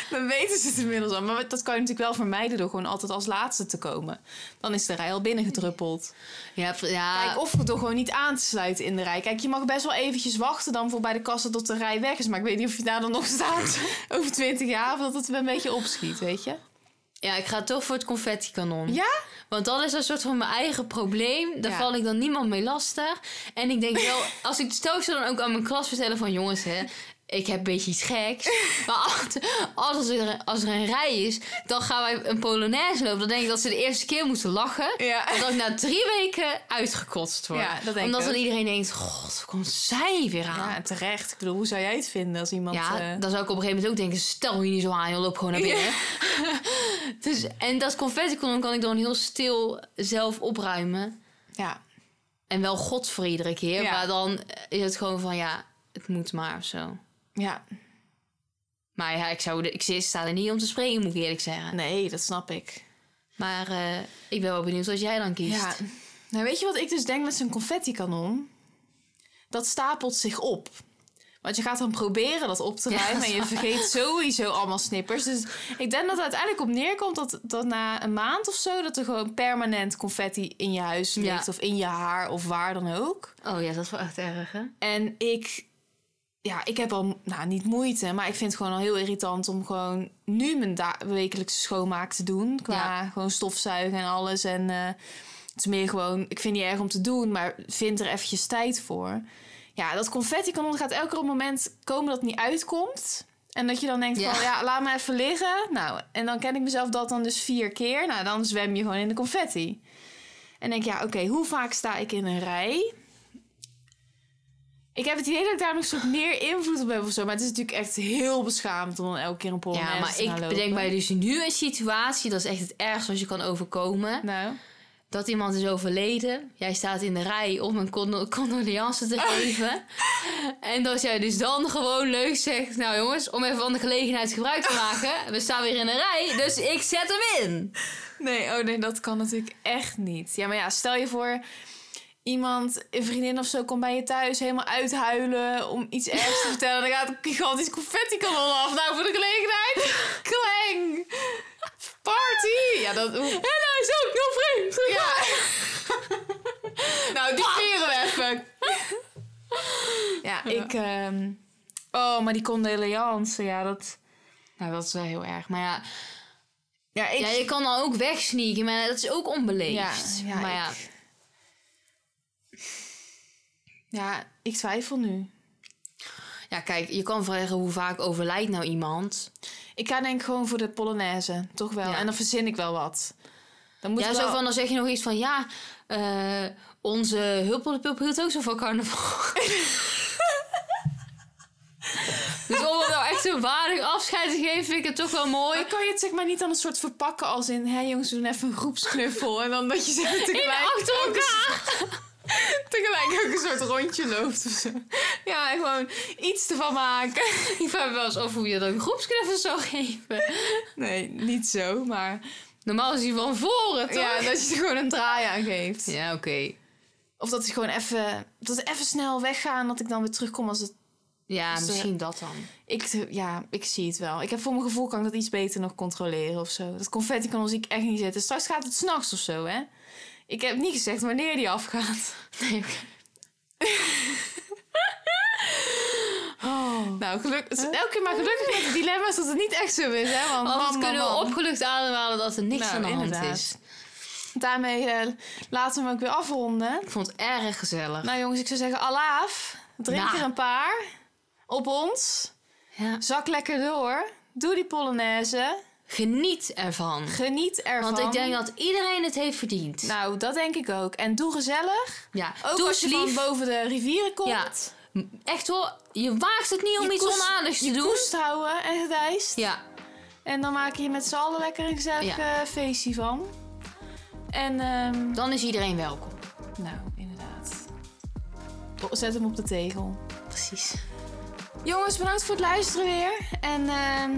Speaker 1: Dan weten ze het inmiddels al. Maar dat kan je natuurlijk wel vermijden door gewoon altijd als laatste te komen. Dan is de rij al binnengedruppeld.
Speaker 2: Ja, v- ja.
Speaker 1: Kijk, of door gewoon niet aan te sluiten in de rij. Kijk, je mag best wel eventjes wachten dan voor bij de kassa tot de rij weg is. Maar ik weet niet of je daar dan nog staat over 20 jaar. Of dat het een beetje opschiet, weet je?
Speaker 2: ja, ik ga toch voor het confetti-kanon.
Speaker 1: Ja?
Speaker 2: Want dan is dat een soort van mijn eigen probleem. Daar
Speaker 1: Ja.
Speaker 2: val ik dan niemand mee lastig. En ik denk wel, als ik stel ik zou dan ook aan mijn klas vertellen van jongens, hè, ik heb een beetje iets geks. Maar als, als, er, als er een rij is, dan gaan wij een polonaise lopen. Dan denk ik dat ze de eerste keer moeten lachen.
Speaker 1: Ja.
Speaker 2: En dat ik na drie weken uitgekotst word.
Speaker 1: Ja, dat denk ik
Speaker 2: Omdat dan
Speaker 1: ook.
Speaker 2: iedereen denkt, god, hoe komt zij weer aan?
Speaker 1: Ja, en terecht. Ik bedoel, hoe zou jij het vinden als iemand...
Speaker 2: Ja,
Speaker 1: eh,
Speaker 2: dan zou ik op een gegeven moment ook denken: stel je niet zo aan, joh, loop gewoon naar binnen. dus, en dat confetti-kanon kan ik dan heel stil zelf opruimen.
Speaker 1: ja.
Speaker 2: En wel God voor iedere keer.
Speaker 1: Ja.
Speaker 2: Maar dan is het gewoon van ja, het moet maar of zo.
Speaker 1: ja.
Speaker 2: Maar ja, ik, zou de, ik zit- sta er niet om te spreken, moet ik eerlijk zeggen.
Speaker 1: Nee, dat snap ik.
Speaker 2: Maar eh, ik ben wel benieuwd wat jij dan kiest.
Speaker 1: Ja. Nou, weet je wat ik dus denk met zo'n confetti-kanon? Dat stapelt zich op. Want je gaat dan proberen dat op te
Speaker 2: Ja,
Speaker 1: ruimen.
Speaker 2: dat
Speaker 1: en je vergeet sowieso allemaal snippers. Dus ik denk dat het uiteindelijk op neerkomt dat, dat na een maand of zo... dat er gewoon permanent confetti in je huis
Speaker 2: Ja.
Speaker 1: ligt. Of in je haar of waar dan ook.
Speaker 2: Oh ja, dat is wel echt erg, hè?
Speaker 1: En ik, ja, ik heb al, nou niet moeite, maar ik vind het gewoon al heel irritant om gewoon nu mijn da- wekelijkse schoonmaak te doen. Qua gewoon stofzuigen en alles. En eh, het is meer gewoon, ik vind het niet erg om te doen, maar vind er eventjes tijd voor. Ja, dat confetti kanon gaat elke keer op het moment komen dat het niet uitkomt. En dat je dan denkt
Speaker 2: Ja.
Speaker 1: van, ja, laat me even liggen. Nou, en dan ken ik mezelf dat dan dus vier keer. Nou, dan zwem je gewoon in de confetti. En denk ik, ja, oké, hoe vaak sta ik in een rij? Ik heb het idee dat ik daar nog een soort meer invloed op heb of zo. Maar het is natuurlijk echt heel beschaamd om dan elke keer een pol
Speaker 2: Ja, maar ik bedenk bij dus nu een situatie, dat is echt het ergste wat je kan overkomen.
Speaker 1: Nou,
Speaker 2: dat iemand is overleden. Jij staat in de rij om een condo condoleance te geven. En dat jij dus dan gewoon leuk zegt... Nou jongens, om even van de gelegenheid gebruik te maken. We staan weer in een rij, dus ik zet hem in.
Speaker 1: nee, oh nee, dat kan natuurlijk echt niet. Ja, maar ja, stel je voor... Iemand, een vriendin of zo, komt bij je thuis helemaal uithuilen om iets ergs te vertellen. Dan gaat een gigantisch confetti kanon af. Nou, voor de gelegenheid. Kleng! Party! Ja, dat...
Speaker 2: En hij is ook heel vreemd.
Speaker 1: Ja. nou, die vieren we even. ja, ik... ehm, oh, maar die condoleance, ja, dat... Nou, dat is wel heel erg. Maar ja, ja ik...
Speaker 2: Ja, je kan dan ook wegsneaken, maar dat is ook onbeleefd.
Speaker 1: Ja, ja,
Speaker 2: maar ja,
Speaker 1: ik- ja, ik twijfel nu.
Speaker 2: ja, kijk, je kan vragen hoe vaak overlijdt nou iemand.
Speaker 1: Ik ga denk ik gewoon voor de Polonaise, toch wel.
Speaker 2: Ja.
Speaker 1: En dan verzin ik wel wat. Dan moet
Speaker 2: ja,
Speaker 1: ik
Speaker 2: zo
Speaker 1: wel...
Speaker 2: van, dan zeg je nog iets van... Ja, eh, onze hulpelpup hield ook zo van carnaval. dus om het nou echt een waardig afscheid te geven... vind ik het toch wel mooi.
Speaker 1: Maar kan je het zeg maar niet dan een soort verpakken als in... Hé jongens, we doen even een groepsknuffel. en dan dat je ze tegelijk...
Speaker 2: achter
Speaker 1: ook een soort- tegelijk ook een soort rondje loopt of zo. Ja, en gewoon iets ervan maken.
Speaker 2: Ik vraag me wel eens af hoe je dat een groepsknuffel zou geven.
Speaker 1: Nee, niet zo, maar...
Speaker 2: Normaal is die van voren, toch?
Speaker 1: Ja, dat je er gewoon een draai aan geeft.
Speaker 2: Ja, oké.
Speaker 1: Of dat ze gewoon even... Dat ze even snel weggaan, dat ik dan weer terugkom als het...
Speaker 2: Ja,
Speaker 1: Dus, eh,
Speaker 2: misschien dat dan.
Speaker 1: Ik, ja, ik zie het wel. Ik heb voor mijn gevoel kan ik dat iets beter nog controleren of zo. Dat confetti kan ons ik echt niet zetten. Straks gaat het s'nachts of zo, hè? Ik heb niet gezegd wanneer die afgaat.
Speaker 2: Nee, oké. Oh.
Speaker 1: Nou, gelukkig. Elke keer maar gelukkig met het dilemma is dat het niet echt zo is, hè? Want
Speaker 2: Anders
Speaker 1: man, man,
Speaker 2: kunnen we
Speaker 1: man.
Speaker 2: opgelucht ademhalen dat er niks
Speaker 1: Nou,
Speaker 2: aan de hand
Speaker 1: inderdaad.
Speaker 2: is.
Speaker 1: Daarmee eh, laten we hem ook weer afronden.
Speaker 2: Ik vond het erg gezellig.
Speaker 1: Nou, jongens, ik zou zeggen: alaaf. Drink
Speaker 2: Nou.
Speaker 1: er een paar. Op ons.
Speaker 2: Ja.
Speaker 1: Zak lekker door. Doe die Polonaise.
Speaker 2: Geniet ervan.
Speaker 1: Geniet ervan.
Speaker 2: Want ik denk dat iedereen het heeft verdiend.
Speaker 1: Nou, dat denk ik ook. En doe gezellig.
Speaker 2: ja,
Speaker 1: Ook
Speaker 2: doe
Speaker 1: als
Speaker 2: eens
Speaker 1: je van
Speaker 2: lief.
Speaker 1: boven de rivieren komt.
Speaker 2: Ja. M- Echt hoor, je waagt het niet om
Speaker 1: Je
Speaker 2: iets
Speaker 1: koest-
Speaker 2: onaardigs te
Speaker 1: Je
Speaker 2: doen.
Speaker 1: koest houden en gedijst.
Speaker 2: Ja,
Speaker 1: En dan maak je met z'n allen lekker een gezellig
Speaker 2: Ja.
Speaker 1: eh, feestje van. En, ehm,
Speaker 2: dan is iedereen welkom.
Speaker 1: nou, inderdaad. Oh, Zet hem op de tegel.
Speaker 2: Precies.
Speaker 1: Jongens, bedankt voor het luisteren weer. En ehm,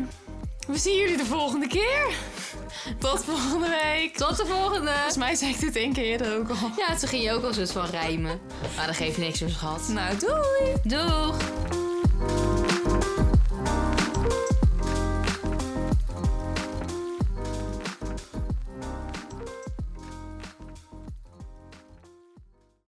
Speaker 1: we zien jullie de volgende keer. Tot volgende week.
Speaker 2: Tot de volgende.
Speaker 1: Volgens mij zei ik dit één keer eerder ook al.
Speaker 2: Ja, toen ging je ook al zoiets van rijmen. Maar dat geeft niks, dus gehad.
Speaker 1: Nou, doei!
Speaker 2: Doeg!